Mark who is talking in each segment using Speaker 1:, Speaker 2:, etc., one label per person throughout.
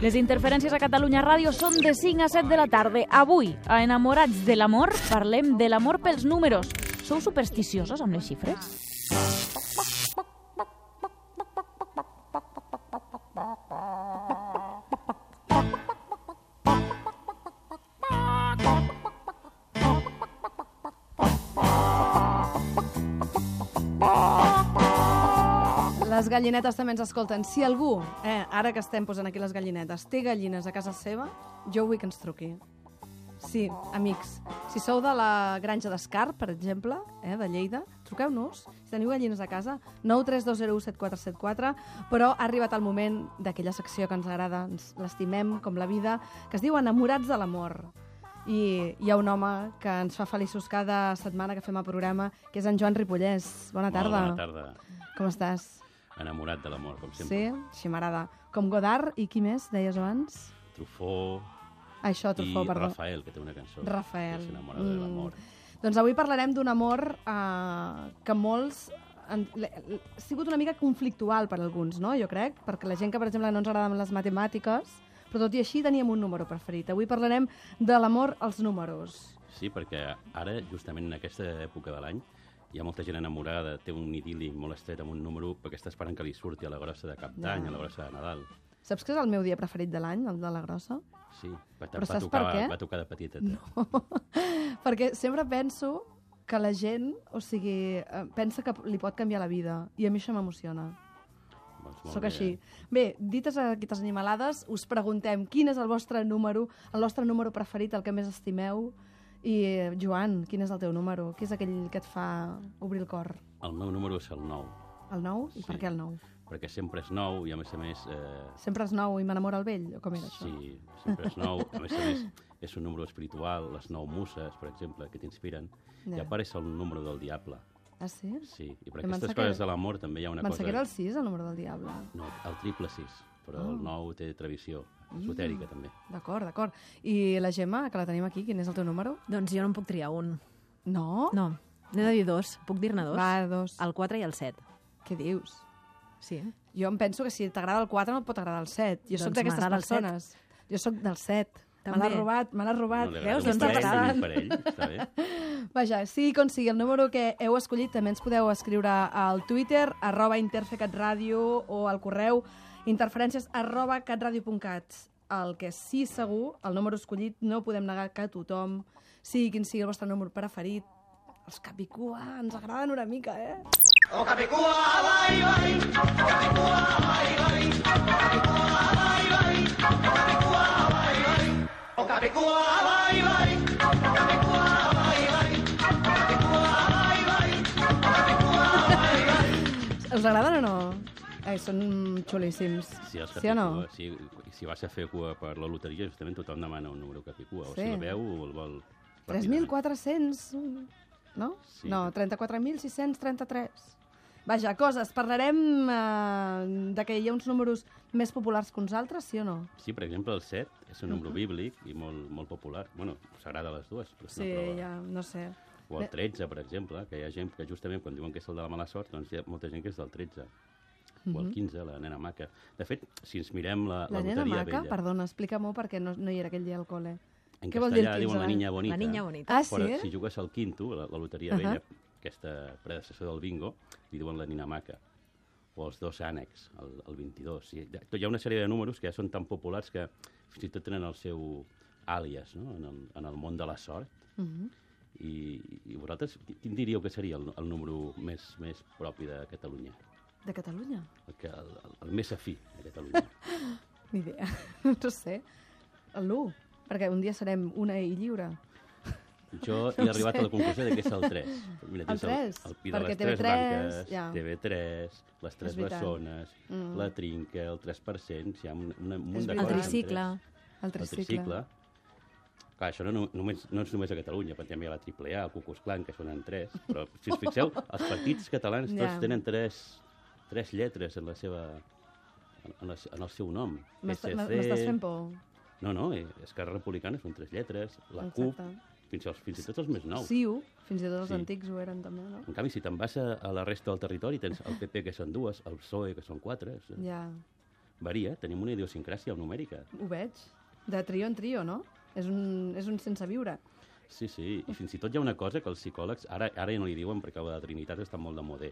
Speaker 1: Les interferències a Catalunya Ràdio són de 5 a 7 de la tarda. Avui, a Enamorats de l'amor, parlem de l'amor pels números. Sou supersticiosos amb les xifres?
Speaker 2: Les gallinetes també ens escolten. Si algú, eh, ara que estem posant aquí les gallinetes, té gallines a casa seva, jo vull que ens truqui. Sí, amics, si sou de la granja d'Escar, per exemple, eh, de Lleida, truqueu-nos, si teniu gallines a casa, 932017474, però ha arribat el moment d'aquella secció que ens agrada, ens l'estimem com la vida, que es diu Enamorats de l'amor. I hi ha un home que ens fa feliços cada setmana que fem el programa, que és en Joan Ripollès. Bona tarda.
Speaker 3: Molt bona tarda.
Speaker 2: Com estàs?
Speaker 3: Enamorat de l'amor, com
Speaker 2: Sí,
Speaker 3: sempre.
Speaker 2: així m'agrada. Com Godard i qui més, deies abans?
Speaker 3: Sí. Truffaut
Speaker 2: Ah, Això, Truffaut,
Speaker 3: i
Speaker 2: perdó.
Speaker 3: Rafael, que té una cançó.
Speaker 2: Rafael.
Speaker 3: Que s'enamora de l'amor.
Speaker 2: Doncs avui parlarem d'un amor eh, que molts... En, l- l- ha sigut una mica conflictual per alguns, no? Jo crec, perquè la gent que, per exemple, no ens agraden les matemàtiques, però tot i així teníem un número preferit. Avui parlarem de l'amor als números.
Speaker 3: Sí, perquè ara, justament en aquesta època de l'any, hi ha molta gent enamorada, té un idili molt estret amb un número perquè està esperant que li surti a la grossa de Cap d'Any,
Speaker 2: Ja.
Speaker 3: a la grossa de Nadal.
Speaker 2: Saps que és el meu dia preferit de l'any, el de la grossa?
Speaker 3: Sí, va,
Speaker 2: Però
Speaker 3: va
Speaker 2: saps
Speaker 3: tocar,
Speaker 2: per què?
Speaker 3: va tocar de petita. No.
Speaker 2: Perquè sempre penso que la gent, o sigui, eh, pensa que li pot canviar la vida. I a mi això m'emociona.
Speaker 3: Doncs
Speaker 2: Sóc així. Bé, dites aquestes animalades, us preguntem quin és el vostre número, el vostre número preferit, el que més estimeu. I, eh, Joan, quin és el teu número? Què és aquell que et fa obrir el cor?
Speaker 3: El meu número és el 9,
Speaker 2: El 9? I
Speaker 3: Sí.
Speaker 2: per què el 9?
Speaker 3: perquè sempre és 9 i, a més a més, eh,
Speaker 2: Sempre és 9 i m'enamora el vell? O com era això?
Speaker 3: Sí, sempre és nou. A més a més, és un número espiritual, les nou muses, per exemple, que t'inspiren.
Speaker 2: Ja.
Speaker 3: Yeah. I a part és el número del diable.
Speaker 2: Ah, sí?
Speaker 3: Sí, i per
Speaker 2: Em pensava
Speaker 3: aquestes
Speaker 2: que-
Speaker 3: coses de l'amor també hi ha una
Speaker 2: Pensava
Speaker 3: cosa...
Speaker 2: que era el Ah. 6, el número del diable.
Speaker 3: No, el triple sis, però oh. el nou té tradició esotèrica, també.
Speaker 2: D'acord, d'acord. I la Gemma, que la tenim aquí, quin és el teu número?
Speaker 4: Doncs jo no en puc triar un.
Speaker 2: No?
Speaker 4: No, n'he de dir dos. Puc dir-ne dos?
Speaker 2: Va, dos.
Speaker 4: El 4 i el 7.
Speaker 2: Què dius?
Speaker 4: Sí.
Speaker 2: Jo em penso que si t'agrada el 4 no et pot agradar el 7. Jo sóc
Speaker 4: Doncs
Speaker 2: d'aquestes
Speaker 4: m'agrada el set.
Speaker 2: persones. Jo sóc del 7. Me
Speaker 4: També.
Speaker 2: l'ha robat, me l'ha robat.
Speaker 3: li
Speaker 2: Veus?
Speaker 3: agrada
Speaker 4: doncs
Speaker 3: un
Speaker 2: Què
Speaker 4: t'ha
Speaker 3: parell,
Speaker 2: està
Speaker 3: un
Speaker 2: passant?
Speaker 3: parell, està bé.
Speaker 2: Vaja, sí, com sigui, el número que heu escollit també ens podeu escriure al Twitter, arroba interfecatradio o al correu interferències arroba catradio.cat. El que sí segur, el número escollit, no podem negar que tothom, sigui quin sigui el vostre número preferit, els capicua ens agraden una mica, eh? Us agraden o no? Eh, són xulíssims.
Speaker 3: Si els
Speaker 2: sí o no?
Speaker 3: capicua- Si, si vas a fer cua per la loteria, justament tothom demana un número capicua. O
Speaker 2: Sí.
Speaker 3: si el veu o el vol... ràpidament.
Speaker 2: 3.400... mm, No?
Speaker 3: Sí.
Speaker 2: No, 34.633. Vaja, coses. Parlarem eh, de que hi ha uns números més populars que uns altres, sí o no?
Speaker 3: Sí, per exemple, el 7 és un número bíblic i molt, molt popular. Bueno, s'agrada a les dues, però és
Speaker 2: Sí,
Speaker 3: una prova.
Speaker 2: ja, no sé.
Speaker 3: O el 13, per exemple, que hi ha gent que justament quan diuen que és el de la mala sort, doncs hi ha molta gent que és del 13. O el 15, la nena maca. De fet, si ens mirem la,
Speaker 2: Mhm. La,
Speaker 3: la,
Speaker 2: nena
Speaker 3: loteria
Speaker 2: maca,
Speaker 3: vella,
Speaker 2: perdona, explica-m'ho perquè no, no hi era aquell dia al col·le.
Speaker 3: en
Speaker 2: què vol dir el 15
Speaker 3: castellà diuen
Speaker 2: de
Speaker 3: la
Speaker 2: l'any?
Speaker 3: niña bonita.
Speaker 4: La niña bonita.
Speaker 2: Ah, sí?
Speaker 3: Però si jugues al quinto, la, la loteria
Speaker 2: Ahà.
Speaker 3: vella, aquesta predecessor del bingo, li diuen la nena maca. O els dos ànecs, el, el 22. Sí, ja- tot- hi ha una sèrie de números que ja són tan populars que fins i tot tenen el seu àlies no? en, el, en el món de la sort.
Speaker 2: Mhm.
Speaker 3: I, I vosaltres, qui- quin diríeu que seria el, el número més, més propi de Catalunya?
Speaker 2: De Catalunya?
Speaker 3: El, que, el, el- el més afí de Catalunya.
Speaker 2: Ni idea. No sé. L'1, perquè un dia serem una i lliure.
Speaker 3: Jo he arribat a la conclusió de que és el 3. Mira,
Speaker 2: El
Speaker 3: tens
Speaker 2: tres,
Speaker 3: El, pi de
Speaker 2: perquè
Speaker 3: les 3
Speaker 2: TV3,
Speaker 3: banques,
Speaker 2: ja.
Speaker 3: TV3, les 3
Speaker 2: veritat.
Speaker 3: bessones,
Speaker 2: Mm,
Speaker 3: la trinca, el 3%, hi ha un, un, un munt de
Speaker 2: veritat.
Speaker 4: El
Speaker 3: coses. amb
Speaker 4: tricicle.
Speaker 3: tres.
Speaker 2: El
Speaker 3: El
Speaker 2: tricicle.
Speaker 3: tricicle. Clar, això no, no, només, no és només a Catalunya, perquè també hi ha la triple A, el Cucus Clan, que són en tres, però si us fixeu, els partits catalans tots
Speaker 2: Ja.
Speaker 3: tenen tres, tres lletres en la seva... en, la, en el seu nom.
Speaker 2: M'està-
Speaker 3: SC.
Speaker 2: M'estàs fent por.
Speaker 3: No, no, eh, Esquerra Republicana són tres lletres, la
Speaker 2: Exacte.
Speaker 3: CUP, fins, als, fins i tot els més nous.
Speaker 2: Siu, fins i tot els
Speaker 3: Sí.
Speaker 2: antics ho eren també, no?
Speaker 3: En canvi, si te'n vas a, a la resta del territori, tens el PP, que són dues, el PSOE, que són E, quatre, és,
Speaker 2: Ja.
Speaker 3: varia, tenim una idiosincràsia numèrica.
Speaker 2: Ho veig. De trio en trio, no? És un, és un sense viure.
Speaker 3: Sí, sí, i fins i tot hi ha una cosa que els psicòlegs, ara, ara ja no li diuen perquè la de Trinitat està molt de moda,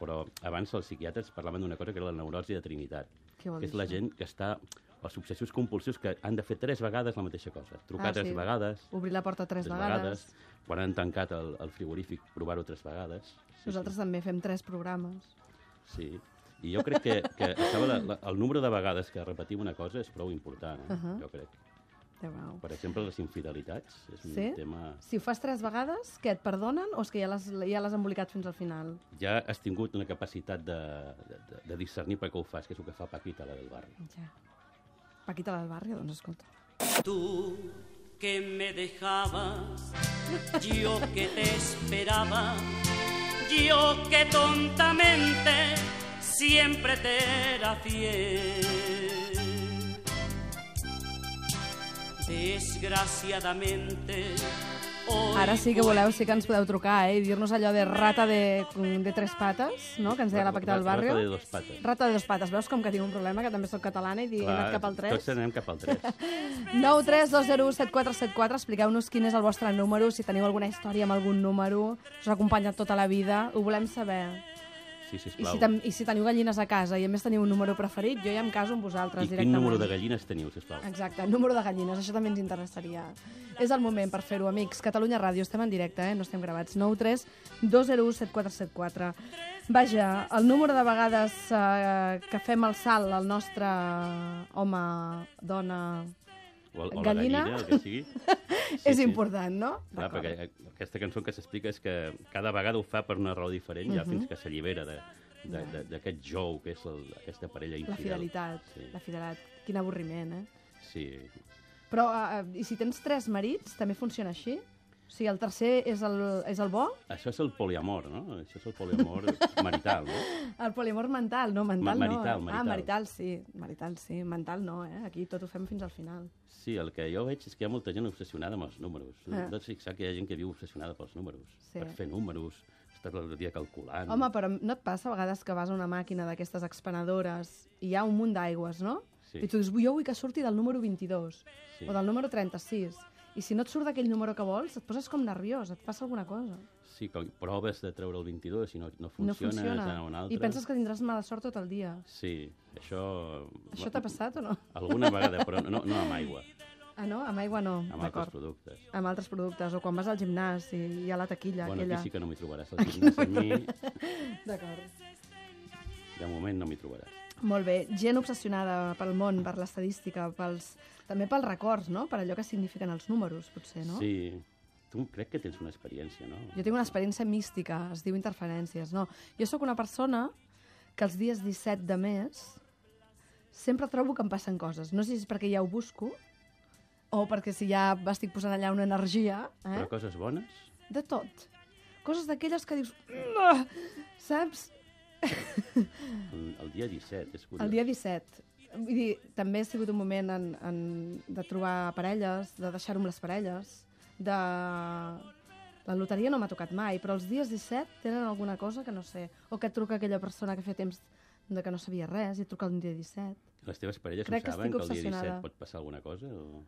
Speaker 3: però abans els psiquiatres parlaven d'una cosa que era la neurosi de Trinitat,
Speaker 2: Què vol
Speaker 3: que és
Speaker 2: dir
Speaker 3: la
Speaker 2: això?
Speaker 3: gent que està els obsessius compulsius que han de fer tres vegades la mateixa cosa. Trucar
Speaker 2: Ah,
Speaker 3: tres
Speaker 2: sí.
Speaker 3: vegades,
Speaker 2: Obrir la porta tres,
Speaker 3: tres vegades, quan han tancat el, el frigorífic, provar-ho tres vegades. Sí,
Speaker 2: Nosaltres també fem tres programes.
Speaker 3: Sí, sí. I jo crec que, que això, la, la, el número de vegades que repetim una cosa és prou important, eh? uh
Speaker 2: Ahà.
Speaker 3: -huh. jo crec.
Speaker 2: Déu meu.
Speaker 3: Per exemple, les infidelitats és un
Speaker 2: Sí?
Speaker 3: tema...
Speaker 2: Si ho fas tres vegades, què, et perdonen o és que ja l'has ja l'has embolicat fins al final?
Speaker 3: ja has tingut una capacitat de, de, de discernir per què ho fas, que és el que fa Paquita, la del barri.
Speaker 2: Ja. Paquita del barri, doncs escolta.
Speaker 5: Tú que me dejabas, yo que te esperaba, yo que tontamente siempre te era fiel. Desgraciadamente, hoy
Speaker 2: Ara sí que voleu, sí que ens podeu trucar, eh? I dir-nos allò de rata de, de tres pates, no?, que ens deia la Paquita del barri.
Speaker 3: Rata de dos pates.
Speaker 2: Rata de dos pates. Veus com que tinc un problema, que també sóc catalana i dic he anat cap al 3?
Speaker 3: Tots anem cap al 3.
Speaker 2: 9 3 2 0 7 4 7 4 Expliqueu-nos quin és el vostre número, si teniu alguna història amb algun número, us ha acompanyat tota la vida, ho volem saber.
Speaker 3: Sí,
Speaker 2: I
Speaker 3: sisplau.
Speaker 2: si, tam- I si teniu gallines a casa i a més teniu un número preferit, jo ja em caso amb vosaltres
Speaker 3: I quin
Speaker 2: directament. Ah,
Speaker 3: número de gallines teniu, sisplau?
Speaker 2: Exacte, el número de gallines, això també ens interessaria. És el moment per fer-ho, amics. Catalunya Ràdio, estem en directe, eh? no estem gravats. 9 3 201 7474. Vaja, el número de vegades eh, que fem el salt al nostre home, dona...
Speaker 3: O, o
Speaker 2: Gallina?
Speaker 3: la gallina, el que sigui.
Speaker 2: Sí, és important, no?
Speaker 3: Clar,
Speaker 2: D'acord.
Speaker 3: perquè a- aquesta cançó que s'explica és que cada vegada ho fa per una raó diferent,
Speaker 2: Mhm.
Speaker 3: ja fins que s'allibera de- de- de- d'aquest jou que és el- aquesta parella
Speaker 2: La
Speaker 3: infidel.
Speaker 2: fidelitat,
Speaker 3: Sí,
Speaker 2: la fidelitat. Quin avorriment, eh?
Speaker 3: sí.
Speaker 2: Però, eh, eh, i si tens tres marits, també funciona així? O sigui, el tercer és el, és el bo?
Speaker 3: Això és el poliamor, no? Això és el poliamor marital, no?
Speaker 2: El poliamor mental, no, mental
Speaker 3: Ma-
Speaker 2: no.
Speaker 3: marital,
Speaker 2: eh? Ah,
Speaker 3: marital.
Speaker 2: marital, sí. Marital, sí. Mental no, eh? Aquí tot ho fem fins al final.
Speaker 3: Sí, el que jo veig és que hi ha molta gent obsessionada amb els números. No
Speaker 2: Ah.
Speaker 3: ah. Doncs fixar que hi ha gent que viu obsessionada pels números,
Speaker 2: Sí.
Speaker 3: sí. per fer números, estar tot el dia calculant.
Speaker 2: Home, però no et passa a vegades que vas a una màquina d'aquestes expenedores i hi ha un munt d'aigües, no?
Speaker 3: Sí.
Speaker 2: I tu dius, jo vull que surti del número 22
Speaker 3: Sí.
Speaker 2: o del número 36. I si no et surt d'aquell número que vols, et poses com nerviós, et passa alguna cosa.
Speaker 3: Sí, com proves de treure el 22 i no,
Speaker 2: no
Speaker 3: no funciona,
Speaker 2: funciona.
Speaker 3: has d'anar a un altre.
Speaker 2: I penses que tindràs mala sort tot el dia.
Speaker 3: Sí, això...
Speaker 2: Això t'ha passat o no?
Speaker 3: Alguna vegada, però no, no amb aigua,
Speaker 2: Ah, no? Amb aigua no,
Speaker 3: amb altres
Speaker 2: d'acord.
Speaker 3: productes.
Speaker 2: Amb altres productes, o quan vas al gimnàs i hi ha la taquilla
Speaker 3: Bueno,
Speaker 2: aquella.
Speaker 3: aquí sí que no m'hi trobaràs. Al gimnàs a mi,
Speaker 2: D'acord.
Speaker 3: de moment, no m'hi trobaràs.
Speaker 2: Molt bé, gent obsessionada pel món, per l'estadística, pels... també pels records, no? Per allò que signifiquen els números, potser, no?
Speaker 3: Sí, tu crec que tens una experiència, no?
Speaker 2: Jo eh? tinc una experiència mística, es diu interferències, no? Jo sóc una persona que els dies 17 de mes sempre trobo que em passen coses. No sé si és perquè ja ho busco o perquè si ja estic posant allà una energia, eh?
Speaker 3: Però coses bones?
Speaker 2: De tot. Coses d'aquelles que dius... "Ah", Saps?
Speaker 3: El, el dia 17, és curiós.
Speaker 2: El dia 17. Vull dir, també ha sigut un moment en, en, de trobar parelles, de deixar-ho amb les parelles, de... La loteria no m'ha tocat mai, però els dies 17 tenen alguna cosa que no sé. O que et truca aquella persona que feia temps de que no sabia res i et truca el dia 17.
Speaker 3: Les teves parelles
Speaker 2: Crec
Speaker 3: Crec
Speaker 2: que
Speaker 3: no saben
Speaker 2: estic
Speaker 3: que, el dia
Speaker 2: obsessionada.
Speaker 3: 17 pot passar alguna cosa? O...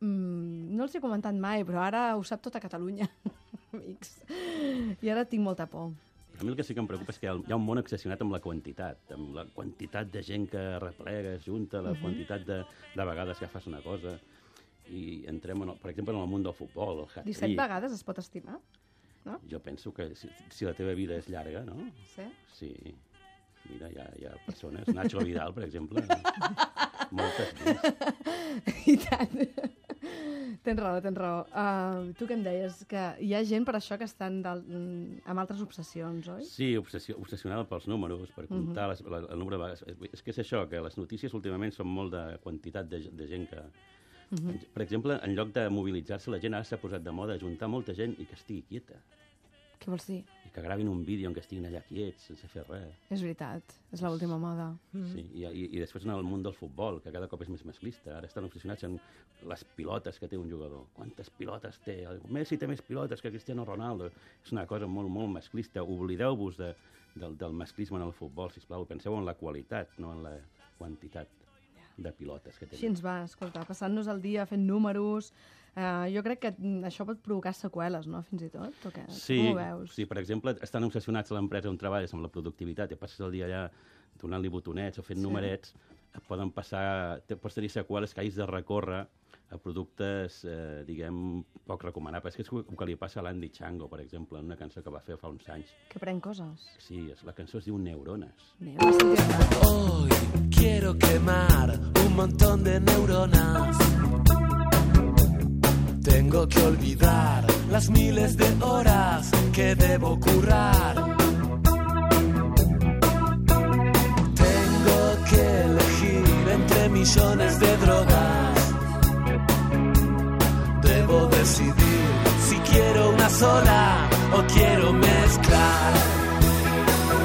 Speaker 2: Mm, no els he comentat mai, però ara ho sap tota Catalunya, amics. I ara tinc molta por.
Speaker 3: A mi el que sí que em preocupa és que hi ha hi ha un món obsessionat amb la quantitat, amb la quantitat de gent que replega, junta, la
Speaker 2: Mhm.
Speaker 3: quantitat de, de vegades que fas una cosa. I entrem, en el, per exemple, en el món del futbol, el hat
Speaker 2: 17 vegades es pot estimar,
Speaker 3: Jo penso que si, si la teva vida és llarga, no?
Speaker 2: sí?
Speaker 3: Sí. Mira, hi ha, hi ha persones, Nacho Vidal, per exemple, moltes més.
Speaker 2: I tant. Tens raó, tens raó. Uh, tu que em deies que hi ha gent per això que estan del, mm, amb altres obsessions, oi?
Speaker 3: Sí, obsessió, obsessionada pels números, per comptar les, la, el nombre de vegades. És- És que és això, que les notícies últimament són molt de quantitat de, ge- de gent que... Per exemple, en lloc de mobilitzar-se, la gent ara s'ha posat de moda juntar molta gent i que estigui quieta.
Speaker 2: Què vols dir?
Speaker 3: I que gravin un vídeo en què estiguin allà quiets, sense fer res.
Speaker 2: És veritat, és l'última moda.
Speaker 3: Sí, i, i, I després en el món del futbol, que cada cop és més masclista. Ara estan obsessionats en les pilotes que té un jugador. Quantes pilotes té? El Messi té més pilotes que Cristiano Ronaldo. És una cosa molt, molt masclista. Oblideu-vos de, del, del masclisme en el futbol, sisplau. Penseu en la qualitat, no en la quantitat. de pilotes que
Speaker 2: Així
Speaker 3: tenen.
Speaker 2: ens va, escolta, passant-nos el dia fent números... Eh, jo crec que mm, això pot provocar seqüeles, no?, fins i tot, o què? Eh, Com ho veus?
Speaker 3: sí, per exemple, estan obsessionats a l'empresa on treballes amb la productivitat i passes el dia allà donant-li botonets o fent sí. numerets, et poden passar, te, pots tenir seqüeles que hagis de recórrer a productes, eh, diguem, poc recomanables. És que és el que li passa a l'Andy Chango, per exemple, en una cançó que va fer fa uns anys.
Speaker 2: Que pren coses.
Speaker 3: Sí, és, la cançó es diu Neurones.
Speaker 2: Bé, va sentir
Speaker 6: Hoy quiero quemar un montón de neuronas. Tengo que olvidar las miles de horas que debo currar. Tengo que elegir entre millones de drogas. Debo decidir si quiero una sola o quiero mezclar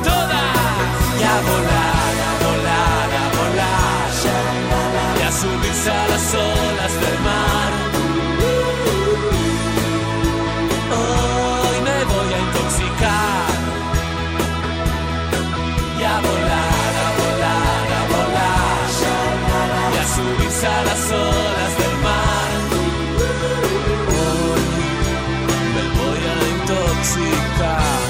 Speaker 6: todas y a volar, a volar, a volar y a subirse a las olas del mar. Hoy me voy a intoxicar y a volar, a volar, a volar y a subirse a las olas del mar. Hoy me voy a intoxicar.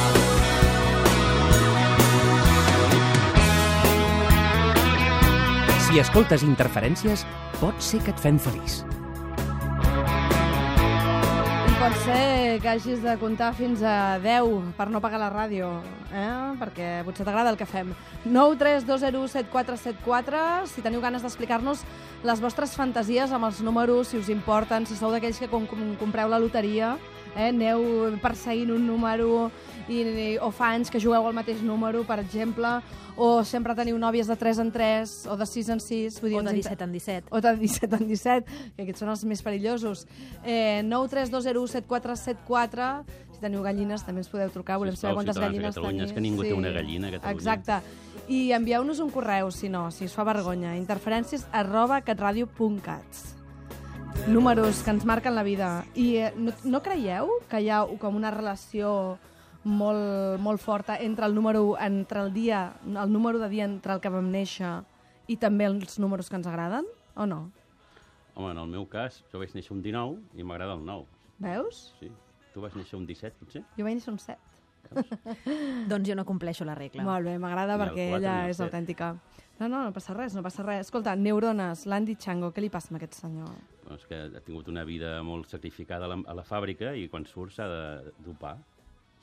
Speaker 7: Si escoltes interferències, pot ser que et fem feliç.
Speaker 2: Pot ser que hagis de comptar fins a 10 per no pagar la ràdio, eh? perquè potser t'agrada el que fem. 932017474, si teniu ganes d'explicar-nos les vostres fantasies amb els números, si us importen, si sou d'aquells que com, com, compreu la loteria, eh? aneu perseguint un número i, i, o fa anys que jugueu al mateix número, per exemple, o sempre teniu nòvies de 3 en 3 o de 6 en 6. Vull dir,
Speaker 4: O de
Speaker 2: ens inter-
Speaker 4: 17 en 17.
Speaker 2: o de 17 en 17, que aquests són els més perillosos. Eh, 9 3 2 0 7 4 7 4 si teniu gallines també ens podeu trucar, Ah, volem saber
Speaker 3: Sisplau,
Speaker 2: quantes
Speaker 3: ciutadans de
Speaker 2: gallines
Speaker 3: Catalunya,
Speaker 2: teniu.
Speaker 3: és que ningú té una gallina a Catalunya.
Speaker 2: Exacte. I envieu-nos un correu, si no, si us fa vergonya. interferències arroba catradio.cat Números que ens marquen la vida. I eh, no, no creieu que hi ha com una relació molt, molt forta entre el número entre el dia, el número de dia entre el que vam néixer i també els números que ens agraden? O no?
Speaker 3: Home, en el meu cas, jo vaig néixer un 19 i m'agrada el 9.
Speaker 2: Veus?
Speaker 3: Sí. Tu vas néixer un 17, potser?
Speaker 2: Jo vaig néixer un 7.
Speaker 4: Doncs jo no compleixo la regla.
Speaker 2: Molt bé, m'agrada
Speaker 3: Ni el
Speaker 2: perquè
Speaker 3: quatre
Speaker 2: ella
Speaker 3: ni el
Speaker 2: és
Speaker 3: set.
Speaker 2: autèntica. No, no, no passa res, no passa res. Escolta, neurones, l'Andy Chango, què li passa a aquest senyor?
Speaker 3: Doncs que ha tingut una vida molt sacrificada a la, a la fàbrica i quan surt s'ha de dopar.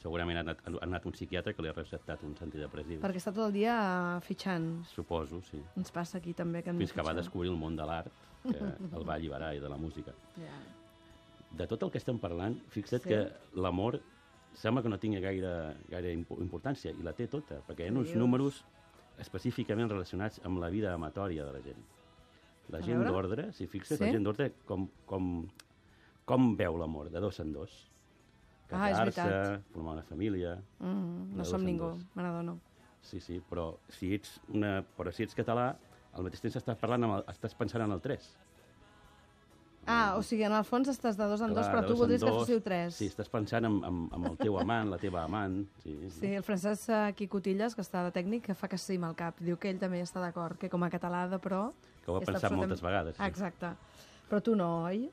Speaker 3: Segurament ha anat, ha anat un psiquiatre que li ha receptat uns antidepressius.
Speaker 2: Perquè està tot el dia fitxant.
Speaker 3: Suposo, sí.
Speaker 2: Ens passa aquí també. Que hem de
Speaker 3: Fins que va
Speaker 2: fitxar.
Speaker 3: descobrir el món de l'art, que el va alliberar i de la música.
Speaker 2: Ja.
Speaker 3: De tot el que estem parlant, fixa't
Speaker 2: Sí.
Speaker 3: sí. que l'amor sembla que no tingui gaire, gaire impo- importància, i la té tota, perquè hi ha uns
Speaker 2: Dius.
Speaker 3: números específicament relacionats amb la vida amatòria de la gent. La
Speaker 2: A
Speaker 3: gent
Speaker 2: veure.
Speaker 3: d'ordre, si fixes,
Speaker 2: Sí?
Speaker 3: la gent d'ordre com, com, com veu l'amor, de dos en dos.
Speaker 2: Ah, és
Speaker 3: Casar-se,
Speaker 2: veritat.
Speaker 3: formar una família...
Speaker 2: Mm, no
Speaker 3: De
Speaker 2: som
Speaker 3: dos en
Speaker 2: ningú,
Speaker 3: dos.
Speaker 2: me n'adono.
Speaker 3: Sí, sí, però si ets, una, però si ets català, al mateix temps estàs, parlant amb el, estàs pensant en el 3.
Speaker 2: Ah, o sigui, en el fons estàs de dos en dos, però tu voldries que fóssiu tres.
Speaker 3: Sí, estàs pensant en, en, en el teu amant, la teva amant. Sí,
Speaker 2: Sí, el Francesc eh, aquí Cotillas, que està de tècnic, que fa que sí amb el cap. Diu que ell també hi està d'acord, que com a català de però...
Speaker 3: Que ho ha
Speaker 2: està
Speaker 3: pensat moltes vegades, sí.
Speaker 2: Exacte. Però tu no, oi?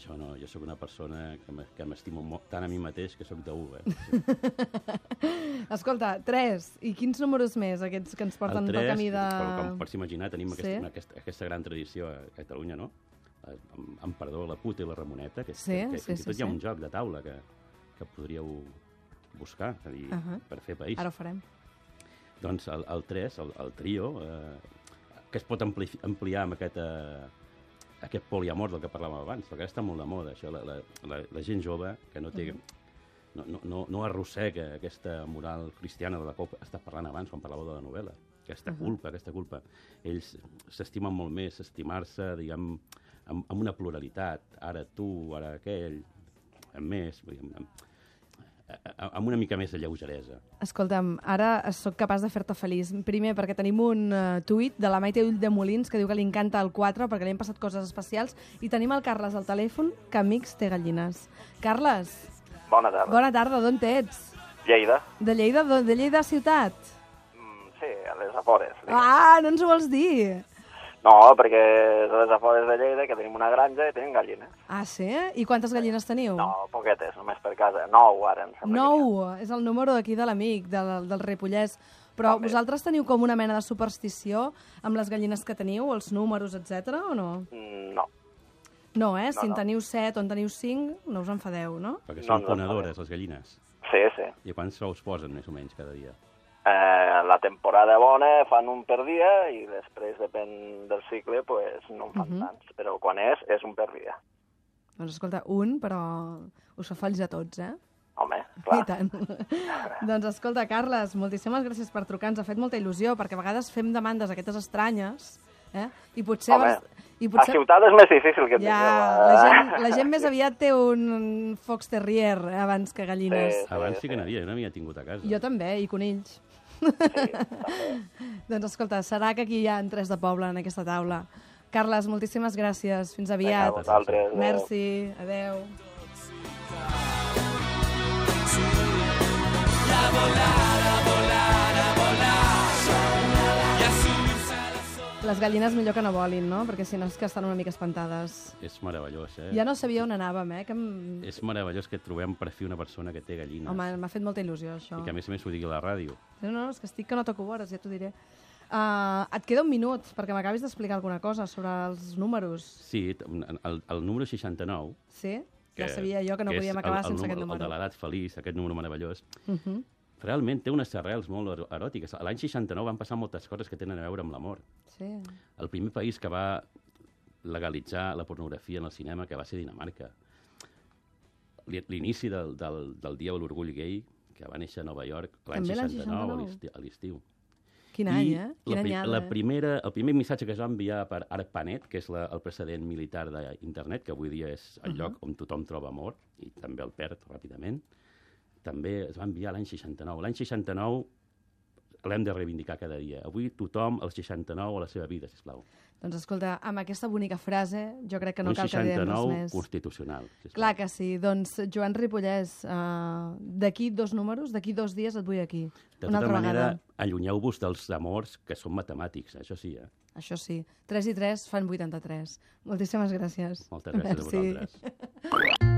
Speaker 3: Jo no, jo sóc una persona que m'e- que m'estimo mo- tant a mi mateix que sóc d'un, eh? Sí.
Speaker 2: Escolta, tres. I quins números més, aquests que ens porten
Speaker 3: El tres,
Speaker 2: pel camí de...
Speaker 3: com, com pots imaginar, tenim
Speaker 2: Sí.
Speaker 3: sí? aquesta, una- aquesta, aquesta gran tradició a Catalunya, no? Eh, Amb, amb perdó, la puta i la Ramoneta, que,
Speaker 2: Sí,
Speaker 3: que, que
Speaker 2: sí,
Speaker 3: fins i
Speaker 2: sí,
Speaker 3: tot hi ha
Speaker 2: sí.
Speaker 3: un joc de taula que, que podríeu buscar, és a dir,
Speaker 2: Ahà.
Speaker 3: per fer país.
Speaker 2: Ara ho farem.
Speaker 3: Doncs el, el 3, el, el trio, eh, que es pot ampli ampliar amb aquest, eh, aquest poliamor del que parlàvem abans, perquè ara està molt de moda, això, la, la, la, la gent jove que no té... No, no, no, no arrossega aquesta moral cristiana de la qual està parlant abans quan parlàveu de la novel·la. Aquesta culpa, aquesta culpa. Ells s'estimen molt més, estimar-se, diguem, amb, amb una pluralitat. Ara tu, ara aquell, amb més, vull dir, amb, amb, amb una mica més de lleugeresa.
Speaker 2: Escolta'm, ara sóc capaç de fer-te feliç. Primer, perquè tenim un uh, tuit de la Maite Ull de Molins que diu que li encanta el 4 perquè li han passat coses especials. I tenim el Carles al telèfon, que amics té gallines. Carles,
Speaker 8: Bona tarda.
Speaker 2: bona tarda, d'on ets?
Speaker 8: Lleida?
Speaker 2: De Lleida, d'on- de Lleida ciutat?
Speaker 8: Mm, sí, a les afores.
Speaker 2: Ah, no ens ho vols dir!
Speaker 8: No, perquè a les afores de Lleida, que tenim una granja i tenim gallines.
Speaker 2: Ah, sí? I quantes gallines teniu?
Speaker 8: No, poquetes, només per casa. Nou, ara, em sembla.
Speaker 2: 9, eh, és el número d'aquí de l'amic, del, del Repollès. Però vosaltres teniu com una mena de superstició amb les gallines que teniu, els números, etc o no?
Speaker 8: Mm, No.
Speaker 2: No, eh? si en
Speaker 8: no.
Speaker 2: teniu 7 o en teniu 5, no us enfadeu, no?
Speaker 3: Perquè
Speaker 8: No,
Speaker 3: són
Speaker 8: no,
Speaker 3: ponedores, les gallines.
Speaker 8: Sí, sí.
Speaker 3: I a quants ous posen, més o menys, cada dia?
Speaker 8: Eh, la temporada bona fan un per dia i després, depèn del cicle, pues, no en fan
Speaker 2: Mhm.
Speaker 8: tants. Però quan és, és un per dia.
Speaker 2: Doncs escolta, un, però us fa falls a tots, eh?
Speaker 8: Home,
Speaker 2: I
Speaker 8: clar.
Speaker 2: tant. doncs escolta, Carles, moltíssimes gràcies per trucar. Ens ha fet molta il·lusió, perquè a vegades fem demandes aquestes estranyes, eh? I potser...
Speaker 8: Home,
Speaker 2: vas- I
Speaker 8: A ciutat és més difícil que et
Speaker 2: Ja,
Speaker 8: digueu, eh?
Speaker 2: la gent, la gent més aviat té un fox terrier abans que gallines.
Speaker 8: Sí.
Speaker 3: Abans sí que n'havia, jo n'havia tingut a casa.
Speaker 2: Jo també, i conills. doncs escolta, serà que aquí hi ha en tres de poble en aquesta taula. Carles, moltíssimes gràcies. Fins
Speaker 8: Vinga,
Speaker 2: aviat.
Speaker 8: vosaltres. eh, adéu.
Speaker 2: Merci. Adeu. Les gallines millor que no volin, no? Perquè si no és que estan una mica espantades.
Speaker 3: És meravellós, eh?
Speaker 2: Ja no sabia on anàvem, eh? Que em...
Speaker 3: És meravellós que trobem per fi una persona que té gallines.
Speaker 2: Home, m'ha fet molta il·lusió, això.
Speaker 3: I que a més a més ho digui a la ràdio.
Speaker 2: No, no, és que estic que no toco vores, ja t'ho diré. Uh, et queda un minut perquè m'acabis d'explicar alguna cosa sobre els números,
Speaker 3: Sí, t- el, el número 69...
Speaker 2: sí? Que, ja sabia jo que no podíem acabar
Speaker 3: el, el
Speaker 2: sense
Speaker 3: número,
Speaker 2: aquest número.
Speaker 3: El de l'edat feliç, aquest número meravellós,
Speaker 2: Uh -huh.
Speaker 3: realment té unes arrels molt ero- eròtiques. A L'any 69 van passar moltes coses que tenen a veure amb l'amor.
Speaker 2: Sí.
Speaker 3: El primer país que va legalitzar la pornografia en el cinema, que va ser Dinamarca. Li- L'inici del, del, del Dia de l'Orgull Gay, que va néixer a Nova York l'any
Speaker 2: També l'any
Speaker 3: 69, a
Speaker 2: 69.
Speaker 3: l'esti- a l'estiu.
Speaker 2: Quin
Speaker 3: I
Speaker 2: any, eh? Quina
Speaker 3: la, pri-
Speaker 2: anyada.
Speaker 3: la primera, el primer missatge que es va enviar per ARPANET, que és la, el precedent militar d'internet, que avui dia és el lloc on tothom troba amor, i també el perd ràpidament, també es va enviar l'any 69. L'any 69 l'hem de reivindicar cada dia. Avui tothom, el 69, a la seva vida, sisplau.
Speaker 2: Doncs escolta, amb aquesta bonica frase jo crec que no
Speaker 3: un
Speaker 2: cal que diguem res
Speaker 3: 69
Speaker 2: més.
Speaker 3: constitucional. sisplau.
Speaker 2: Clar que sí. Doncs Joan Ripollès, uh, d'aquí dos números, d'aquí dos dies et vull aquí.
Speaker 3: De
Speaker 2: Una
Speaker 3: tota
Speaker 2: altra
Speaker 3: manera,
Speaker 2: vegada.
Speaker 3: allunyeu-vos dels amors que són matemàtics, això sí, eh?
Speaker 2: Això sí. 3 i 3 fan 83. Moltíssimes gràcies.
Speaker 3: Moltes gràcies
Speaker 2: Merci.
Speaker 3: a vosaltres.